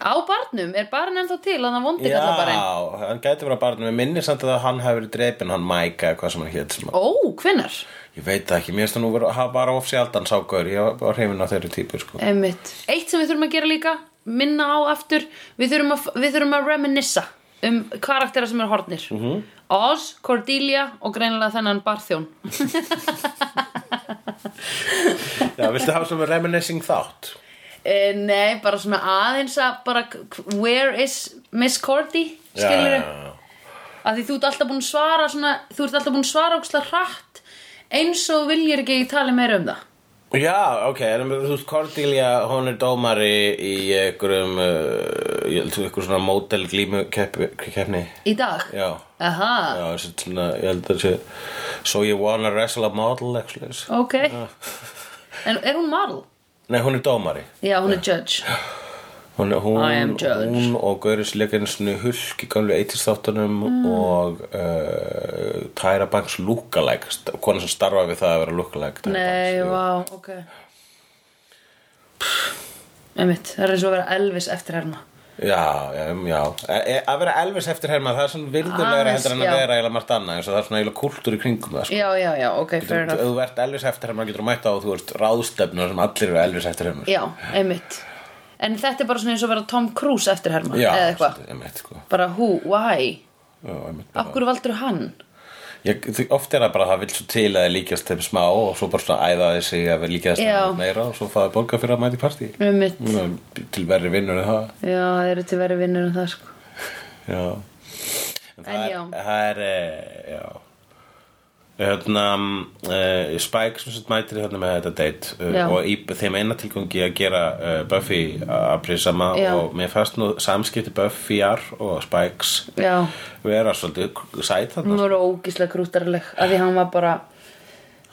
Speaker 2: á barnum, er barn ennþá til að það vondi kalla barinn
Speaker 1: Já, hann gæti verið að barnum Ég minni samt að hann hafi verið dreipin hann Mæka, hvað sem hann hétt sem að-
Speaker 2: ó, hvenær?
Speaker 1: Ég veit það ekki, mér finnst það nú vera, hafa bara of sjaldan sákur Ég var hrifin á þeirri típu sko.
Speaker 2: Einmitt. eitt sem við þurfum að gera líka minna á aftur, við þurfum að, við þurfum að reminissa um karaktera sem er hornir -hmm.
Speaker 1: Mhm.
Speaker 2: Oz, Cordelia og greinilega þennan barþjón
Speaker 1: Já, viltu hafa svona reminiscing þátt?
Speaker 2: Eh, Nei, bara svona aðeins að bara, k- where is Miss Cordy, skilur
Speaker 1: Já, já, já.
Speaker 2: að því þú ert alltaf búin að svara svona, þú ert alltaf búin að svara ókslega hratt eins og þú viljir ekki að ég tali meira um það
Speaker 1: Já, ok, en um, þú veist Cordelia, hún er dómari í einhverjum, uh, ég held að einhver svona mótel glímu keppni.
Speaker 2: í dag
Speaker 1: Já,
Speaker 2: aha,
Speaker 1: já, þessi svona, ég held að þessi, so you wanna wrestle a model, actually.
Speaker 2: ok en er hún model?
Speaker 1: Nei, hún er dómari.
Speaker 2: já, hún er judge
Speaker 1: Hún, hún,
Speaker 2: I am judge.
Speaker 1: hún og Gauris leikinsinu Hulk í gamlu 80s þáttunum
Speaker 2: Mm.
Speaker 1: og uh, Tyra Banks lookalike, st- konan sem starfa við það að vera lookalike. Tyra
Speaker 2: nei,
Speaker 1: Banks,
Speaker 2: vá, ok einmitt, það er eins og að vera Elvis eftir herma
Speaker 1: Já, já, já. E, e, að vera Elvis eftir herma, það er svona virðulegra
Speaker 2: Aðeins,
Speaker 1: heldur en að
Speaker 2: já.
Speaker 1: vera eða margt annað, eins og það er svona eiginlega kultúr í kringum það, sko.
Speaker 2: já, já, já, ok, fair
Speaker 1: Ef
Speaker 2: enough
Speaker 1: þú ert Elvis eftir herma, getur þú mætt á að þú ert ráðstefnu sem allir eru Elvis eftir sko. herma.
Speaker 2: já, einmitt en þetta er bara svona eins og að vera Tom Cruise eftir herma
Speaker 1: já
Speaker 2: eða eitthvað,
Speaker 1: svolítið, einmitt, sko.
Speaker 2: bara who, why
Speaker 1: Já, einmitt, bara.
Speaker 2: af hverju valdur hann?
Speaker 1: Ég, því- oft er það bara að það vil svo til að þið líkjast þeim smá og svo bara svona æða þessi að við líkjast
Speaker 2: Já.
Speaker 1: þeim
Speaker 2: Mm.
Speaker 1: meira og svo fáið borga fyrir að mæti partí
Speaker 2: Einmitt.
Speaker 1: Nú, til verri vinnur en það
Speaker 2: Já, það eru til verið vinnur en það sko
Speaker 1: já. En það
Speaker 2: já.
Speaker 1: er, það er eh, já Hérna, uh, Spike sem sett mætir hérna með þetta date
Speaker 2: Já.
Speaker 1: uh, og í þeim eina tilgangi að gera uh, Buffy að prísama
Speaker 2: Já.
Speaker 1: og mér fannst nú samskipti Buffyar og Spikes
Speaker 2: Já,
Speaker 1: vera svolítið sæt
Speaker 2: hún
Speaker 1: þarna
Speaker 2: var ógíslega krúttarleg að því hann var bara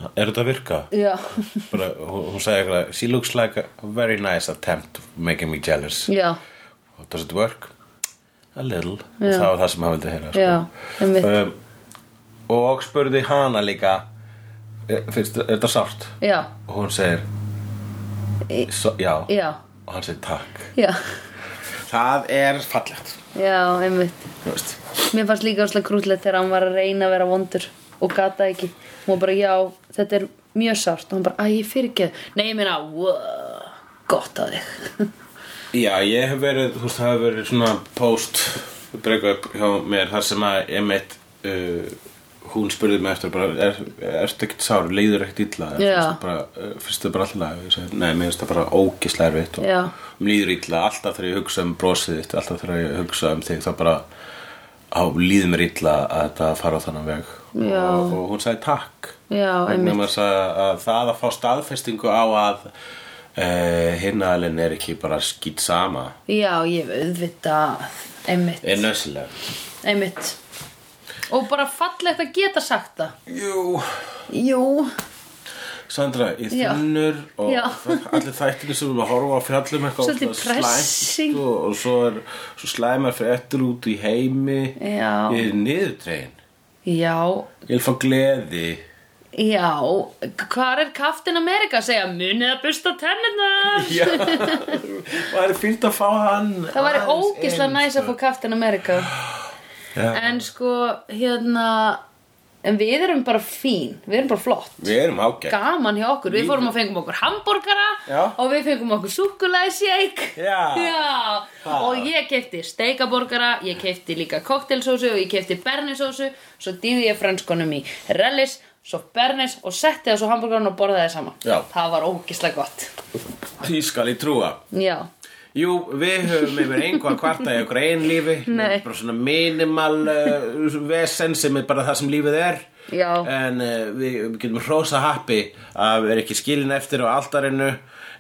Speaker 1: Er þetta að virka?
Speaker 2: Já,
Speaker 1: bara, hún hún sagði eitthvað she looks like a very nice attempt of making me jealous
Speaker 2: já,
Speaker 1: does it work? a little og það var það sem hann vildi heyra sko.
Speaker 2: já, einmitt
Speaker 1: um, og spurði hana líka "Eh, finnst er þetta sárt?
Speaker 2: Já,
Speaker 1: og hún segir so, já.
Speaker 2: já,
Speaker 1: og hann segir takk
Speaker 2: já,
Speaker 1: það er fallegt
Speaker 2: já, einmitt
Speaker 1: þú veist.
Speaker 2: Mér fannst líka óslega krúttlegt þegar hann var að reyna að vera vondur og gata ekki Hún var bara, já, þetta er mjög sárt og hann bara, æ, ég fyrirgeð Nei, ég meina, wow, gott að þig
Speaker 1: já ég hef verið þú veist það hef verið svona post breakup hjá mér þar sem að ég meitt uh, hún spurði mig eftir bara er, ertu ekkert sár, leiður ekkert illa Eða
Speaker 2: Já.
Speaker 1: finnst þér bara, eh, finnst þið bara alltaf lag ég sagði, nei, mér finnst það bara ógislega erfitt og
Speaker 2: Já.
Speaker 1: um líður illa, alltaf þegar ég hugsa um brosið þitt alltaf þegar ég hugsa um þig þá bara á líður mér illa að þetta fara á þannan veg
Speaker 2: Já.
Speaker 1: og, og hún sagði takk
Speaker 2: Já,
Speaker 1: vegna
Speaker 2: einmitt
Speaker 1: þess að, að það að fá staðfestingu á að uh, hinnalinn er ekki bara skýt sama
Speaker 2: Já, ég hef auðvitað, einmitt
Speaker 1: er nöðsileg
Speaker 2: Einmitt Og bara fallegt að geta sagt það
Speaker 1: Jú,
Speaker 2: Jú
Speaker 1: Sandra, í
Speaker 2: Já.
Speaker 1: þunnur og
Speaker 2: Já.
Speaker 1: allir þættir sem við erum að horfa á fjallum eitthvað
Speaker 2: Svolítið
Speaker 1: ótrúlega
Speaker 2: pressing.
Speaker 1: slæmt og, og svo, er, svo slæmar fyrir eftir út í heimi
Speaker 2: Já.
Speaker 1: ég er niðurdregin
Speaker 2: Já,
Speaker 1: ég vil fá gleði
Speaker 2: já, hvar er Captain America að segja munið að busta tennirnar?
Speaker 1: Já, það er fínt að fá hann
Speaker 2: Það væri
Speaker 1: aðeins
Speaker 2: ógislega
Speaker 1: inn,
Speaker 2: næs að
Speaker 1: sko.
Speaker 2: fá Captain America
Speaker 1: Já.
Speaker 2: En sko, hérna, en við erum bara fín, við erum bara flott
Speaker 1: Við erum ágætt
Speaker 2: Gaman hjá okkur, við fórum og fengum okkur hambúrgara
Speaker 1: Já.
Speaker 2: og við fengum okkur súkulæsjæk
Speaker 1: Já.
Speaker 2: Já. og ég kefti steikaborgara, ég kefti líka koktelsósu og ég kefti bernisósu svo dýði ég franskonum í rellis svo bernis og setti það svo hambúrgaran og borðaði saman
Speaker 1: Já.
Speaker 2: það var ógislega gott
Speaker 1: Því skal ég trúa
Speaker 2: Já,
Speaker 1: Jú, við höfum yfir einhvað kvarta í okkur einn lífi
Speaker 2: Nei.
Speaker 1: bara svona minimal uh, vesen sem er bara það sem lífið er
Speaker 2: Já.
Speaker 1: en uh, við við getum hrósa happi að við erum ekki skilin eftir á altarinu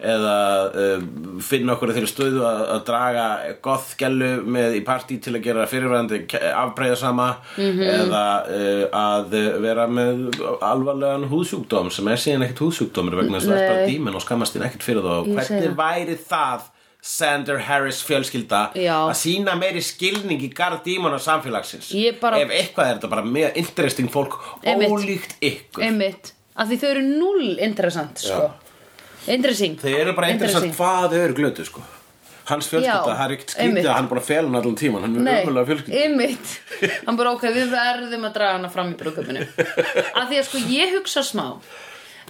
Speaker 1: eða uh, finna okkur þeirri stöðu að, að draga gothgellu með í partí til að gera fyrirverandi afbreyða sama
Speaker 2: Mhm.
Speaker 1: -hmm. eða uh, að vera með alvarlegan húðsjúkdóm sem er síðan ekkert húðsjúkdómur vegna þess að það er bara
Speaker 2: Nei.
Speaker 1: dímen og skammast þín ekkert fyrir þá
Speaker 2: Ég segi
Speaker 1: hvernig
Speaker 2: það.
Speaker 1: væri það Sander Harris fjölskylda
Speaker 2: Já.
Speaker 1: að sína meiri skilning í garð dímona samfélagsins
Speaker 2: Ég bara-
Speaker 1: ef eitthvað er þetta bara með interesting fólk
Speaker 2: Einmitt.
Speaker 1: ólíkt ykkur
Speaker 2: einmitt af því þau eru null interessant sko. Interesting
Speaker 1: þau eru bara interessant hvað þau eru glötu sko. hans fjölskylda,
Speaker 2: Já,
Speaker 1: það er ekkert
Speaker 2: einmitt.
Speaker 1: skrítið að hann er bara felun allan tíman hann er
Speaker 2: Nei,
Speaker 1: umhverlega fjölskylda
Speaker 2: einmitt Hann bara ok, við verðum að draga hana fram í brúðköpinu Af því að sko ég hugsa smá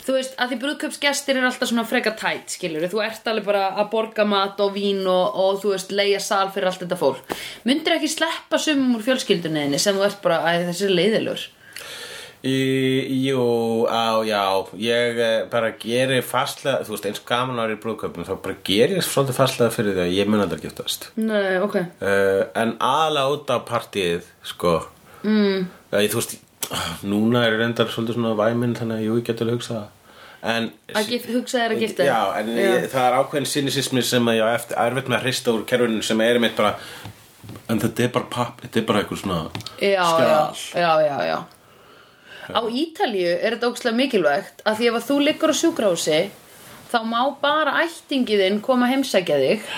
Speaker 2: Þú veist, að því brúðköpsgestir er alltaf svona freka tætt, skilur Þú ert alveg bara að borga mat og vín og, og þú veist, leigja sal fyrir allt þetta fólk Myndir ekki sleppa sumum úr fjölskyldunniðinni sem þú ert bara, að þessi er leiðilur
Speaker 1: Í, jú, á, já, ég eh, bara geri fastlega, þú veist, eins gaman ári í brúðköpum, þá bara geri ég svolítið fastlega fyrir því að ég mun aldrei giftast.
Speaker 2: Nei, ok
Speaker 1: uh, en aðalega út á partíið sko mm. Æ, þú veist, núna er reyndar svolítið svona væminn þannig að jú, ég get alveg hugsa en
Speaker 2: Að gif- hugsa þér að gifta þér.
Speaker 1: já, en Ég, það er ákveðin sinisismi sem að ég á eftir erfitt með að hrista úr kerfinu sem er mitt bara en þetta er bara papp, þetta er bara eitthvað svona
Speaker 2: já, já,
Speaker 1: skjal.
Speaker 2: já, já, já. Á Ítalíu er þetta ókslega mikilvægt að því ef að þú liggur á sjúkrahúsi þá má bara ættingiðinn koma að heimsækja þig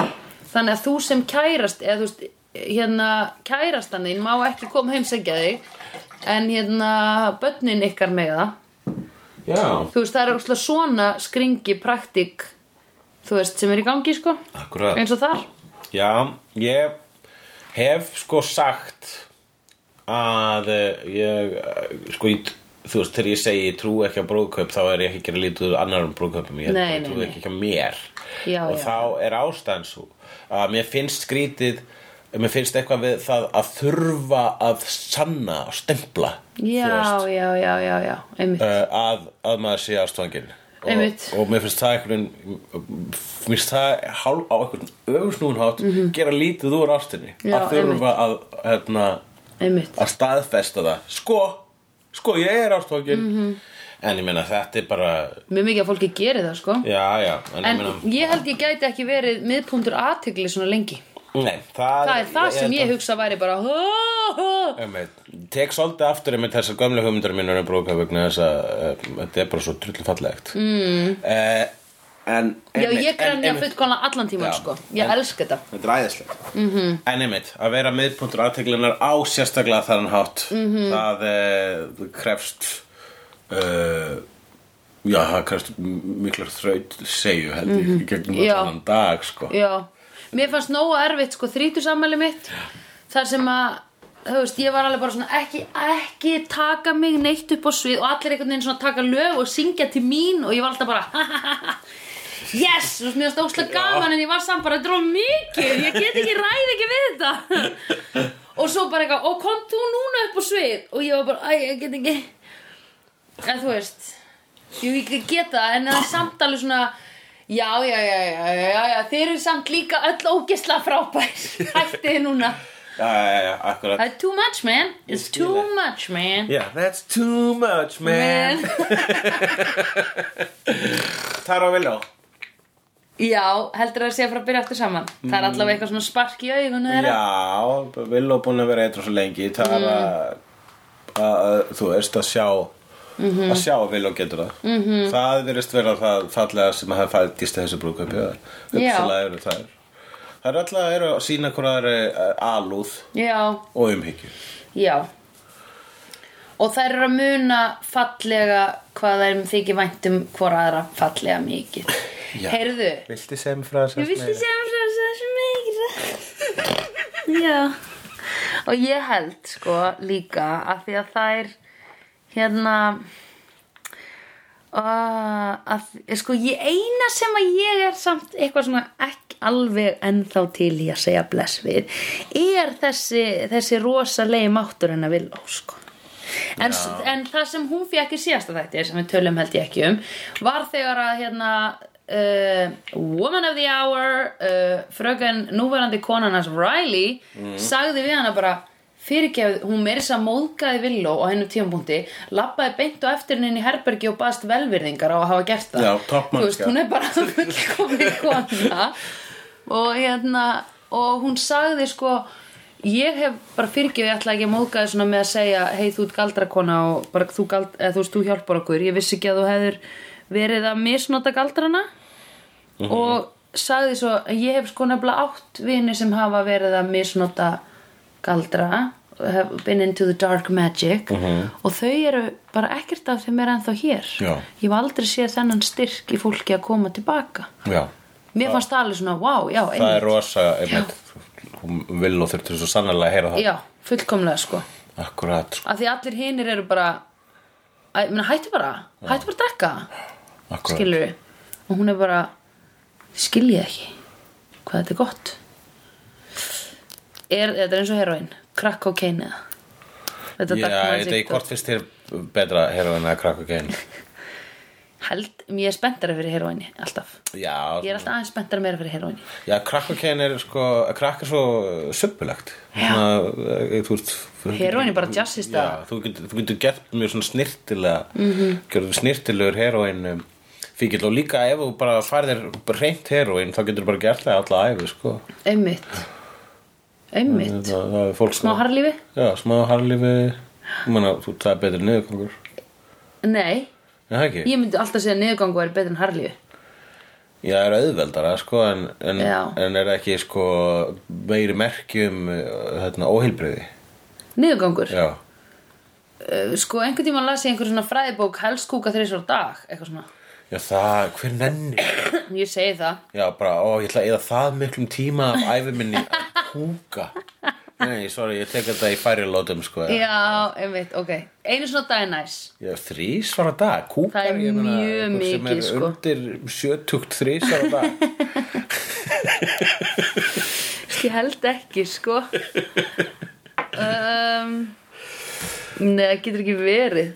Speaker 2: þannig að þú sem kærast eða þú veist, hérna kærastan þín má ekki koma að heimsækja þig en hérna börnin ykkar með það
Speaker 1: já,
Speaker 2: þú veist það er ókslega svona skringi praktík þú veist sem er í gangi sko
Speaker 1: Akkúrat.
Speaker 2: eins og þar
Speaker 1: Já, ég hef sko sagt að eh, ég, eh, sko, ég, þú veist, þegar ég segi ég trú ekki á brúðkaup þá er ég ekki að gera lítið úr annarum brúðkaupum, ég
Speaker 2: Nei,
Speaker 1: bara
Speaker 2: nei,
Speaker 1: trúi
Speaker 2: nei.
Speaker 1: ekki ekki á mér
Speaker 2: Já,
Speaker 1: og
Speaker 2: já.
Speaker 1: þá er ástæðan svo að mér finnst skrítið mér finnst eitthvað við það að þurfa að sanna og stempla þú
Speaker 2: já,
Speaker 1: veist,
Speaker 2: já, já, já, já, einmitt
Speaker 1: eh, að, að maður sé ástfangin og,
Speaker 2: Einmitt.
Speaker 1: og mér finnst það einhvern mér finnst það hálf á einhvern öfusnúðunhátt gera lítið úr ástinni
Speaker 2: Mhm. Já,
Speaker 1: að þurfa að, hérna,
Speaker 2: einmitt
Speaker 1: að staðfesta það sko, sko ég er ástfangin
Speaker 2: Mhm.
Speaker 1: en ég meina þetta er bara
Speaker 2: mjög mikið að fólki geri það sko
Speaker 1: já, já, en,
Speaker 2: En
Speaker 1: ég meina
Speaker 2: ég held ég gæti ekki verið miðpuntur aðtegli svona lengi
Speaker 1: nei, það,
Speaker 2: Það er það sem ég hugsa væri bara hó, hó.
Speaker 1: Einmitt. Tek svolítið aftur einmitt þessar gömlu hugmyndar mínur um brúka vegna þess að eh, þetta er bara svo trullu fallegt mm. eh, En
Speaker 2: Já,
Speaker 1: einmitt, en
Speaker 2: ég grænja
Speaker 1: einmitt-
Speaker 2: fullkona allan tímann
Speaker 1: Já.
Speaker 2: sko Ég
Speaker 1: En-
Speaker 2: elska þetta
Speaker 1: Þetta er æðislegt
Speaker 2: Mhm.
Speaker 1: -hmm. En einmitt, að vera miðpuntur aðteglunar á sérstaklega þann hátt
Speaker 2: Mhm.
Speaker 1: -hmm. það, eh, það krefst uh, Já, það krefst m- miklar þraut segju held ég gegnum
Speaker 2: Mhm. Já.
Speaker 1: allan þann dag sko.
Speaker 2: Já, mér fannst nógu erfitt sko þrítusamæli mitt þar sem að, þú veist, ég var alveg bara svona ekki, ekki taka mig neitt upp á svið og allir einhvern veginn svona taka lög og syngja til mín og ég var alltaf bara Yes, þú veist, mér varst óslega gaman en ég var samt bara, þetta er of mikið, ég get ekki ræð ekki við þetta og svo bara eitthvað, og kom þú núna upp á svið og ég var bara, æ, ég get ekki en þú veist Jú, ég get það, en það er samt alveg svona Já, já, já, já, já, já, já Þeir eru samt líka öll ógisla frábær Hætti þið núna
Speaker 1: Já, já, já, akkurat
Speaker 2: Það er too much, man It's
Speaker 1: skil
Speaker 2: too
Speaker 1: það.
Speaker 2: much, man
Speaker 1: Yeah, that's too much, man,
Speaker 2: Man.
Speaker 1: Taro Villó
Speaker 2: Já, heldur það að segja frá að byrja aftur saman Það er allavega eitthvað svona spark í augun þeirra
Speaker 1: Mm. Já, Villó búin að vera eitthvað svo lengi Það
Speaker 2: Mm.
Speaker 1: er að, að þú veist að sjá
Speaker 2: Mhm.
Speaker 1: að sjá að Villó getur það -hmm. Það virðist vera það fallega sem að hafa fættist þessu brúðkaupi eða Uppsalega eru þær Það er alltaf að eru að sína hvað það er eh, alúð
Speaker 2: Já,
Speaker 1: og umhyggju
Speaker 2: já Og þær eru að muna fallega hvað þeim þykir væntum hvora aðra fallega mikið
Speaker 1: Já.
Speaker 2: Heyrðu,
Speaker 1: Viltu sem frá þess
Speaker 2: Ég vilti sjá um svo þessu meira Já Og ég held sko líka að því að þær hérna uh, að, sko ég eina sem að ég er samt eitthvað svona ekki alveg ennþá til í að segja bless við er þessi, þessi rosalegi máttur hennar vil sko En, en það sem hún fekk í síðasta þætti sem við tölum held ég ekki um var þegar að hérna uh, woman of the hour uh, fröken núverandi konarnas Riley sagði við hana bara fyrirgefið, hún meiri þess að móðgaði villó á hennum tímapunkti, labbaði beint og eftir henni inn í herbergi og baðst velvirðingar á að hafa gert það
Speaker 1: Já, topp
Speaker 2: Þú veist,
Speaker 1: manneskja.
Speaker 2: hún er bara fullkomin kona og hérna og hún sagði sko ég hef bara fyrirgefið ég ætla ekki að móðga þér svona með að segja hei þú ert galdrakona og bara þú, gald, eða, þú veist þú hjálpar okkur ég vissi ekki að þú hefur verið að misnota galdrana
Speaker 1: Mhm.
Speaker 2: og sagði svo ég hef sko nefnilega átt vini sem hafa verið að misnota galdra have been into the dark magic og þau eru bara ekkert af þeim er ennþá hér
Speaker 1: Mhm. Já.
Speaker 2: ég hef aldrei séð þennan styrk í fólki að koma tilbaka
Speaker 1: Já,
Speaker 2: mér fannst það alveg svona, wow, já,
Speaker 1: það er
Speaker 2: einmitt
Speaker 1: rosa einmitt, Villó þurftur svo sannarlega að heyra það
Speaker 2: já, fullkomlega sko
Speaker 1: Akkurat, sko,
Speaker 2: af því allir hinir eru bara Æ, mena, hættu bara, hættu bara að drekka
Speaker 1: akkurat
Speaker 2: skilur og hún er bara skil ég ekki hvað þetta er gott er, þetta er eins og heroin crack cocaine eða þetta
Speaker 1: Já,
Speaker 2: Dagmar
Speaker 1: þetta er
Speaker 2: Sigdór.
Speaker 1: hvort finnst þér betra heroin eða krakka gein
Speaker 2: held, ég er spenntara fyrir heroinni alltaf,
Speaker 1: Já,
Speaker 2: ég er alltaf aðeins spenntara meira fyrir heroinni
Speaker 1: já krakkakæðin er sko, krakk er svo eh, söpulegt
Speaker 2: Já.
Speaker 1: eh, þú veist
Speaker 2: heroin er bara jazzist að
Speaker 1: Já, þú getur, þú getur gert mjög svona snirtilega mm
Speaker 2: Mhm.
Speaker 1: -hmm. snirtilegur heroin fíkil um, og líka ef þú bara farðir reynt heroin þá getur þú bara gert það alla æfi sko.
Speaker 2: einmitt einmitt,
Speaker 1: það, það er fólk
Speaker 2: smá harlífi
Speaker 1: já, smá harlífi Menna, þú, það er betri niðurgangur
Speaker 2: nei,
Speaker 1: Já, það ekki?
Speaker 2: ég myndi alltaf segja að niðurgangu er betur en harlífi
Speaker 1: Já, það er auðveldara sko, en, en,
Speaker 2: Já.
Speaker 1: en er ekki sko, meiri merkjum hérna, óheilbriði
Speaker 2: niðurgangur,
Speaker 1: Já,
Speaker 2: Eh, sko einhvern tímann las ég einhver svona fræðibók helst kúka þreysar á dag, eitthvað svona
Speaker 1: já það, hver nenni
Speaker 2: ég segi það
Speaker 1: Já, bara, ó, ég ætla að eða það miklum tíma af æfi minni að húka Nei, sorry, ég tek þetta í færi lótum sko
Speaker 2: Já, einmitt, ok Einu svona dag er næs
Speaker 1: Já, þrísvar á dag, kúkar
Speaker 2: Það er
Speaker 1: ég meina,
Speaker 2: mjög
Speaker 1: einhver sem
Speaker 2: mikið, sko.
Speaker 1: er undir sjötugt þrísvar á dag
Speaker 2: Ég held ekki, sko um, Nei, það getur ekki verið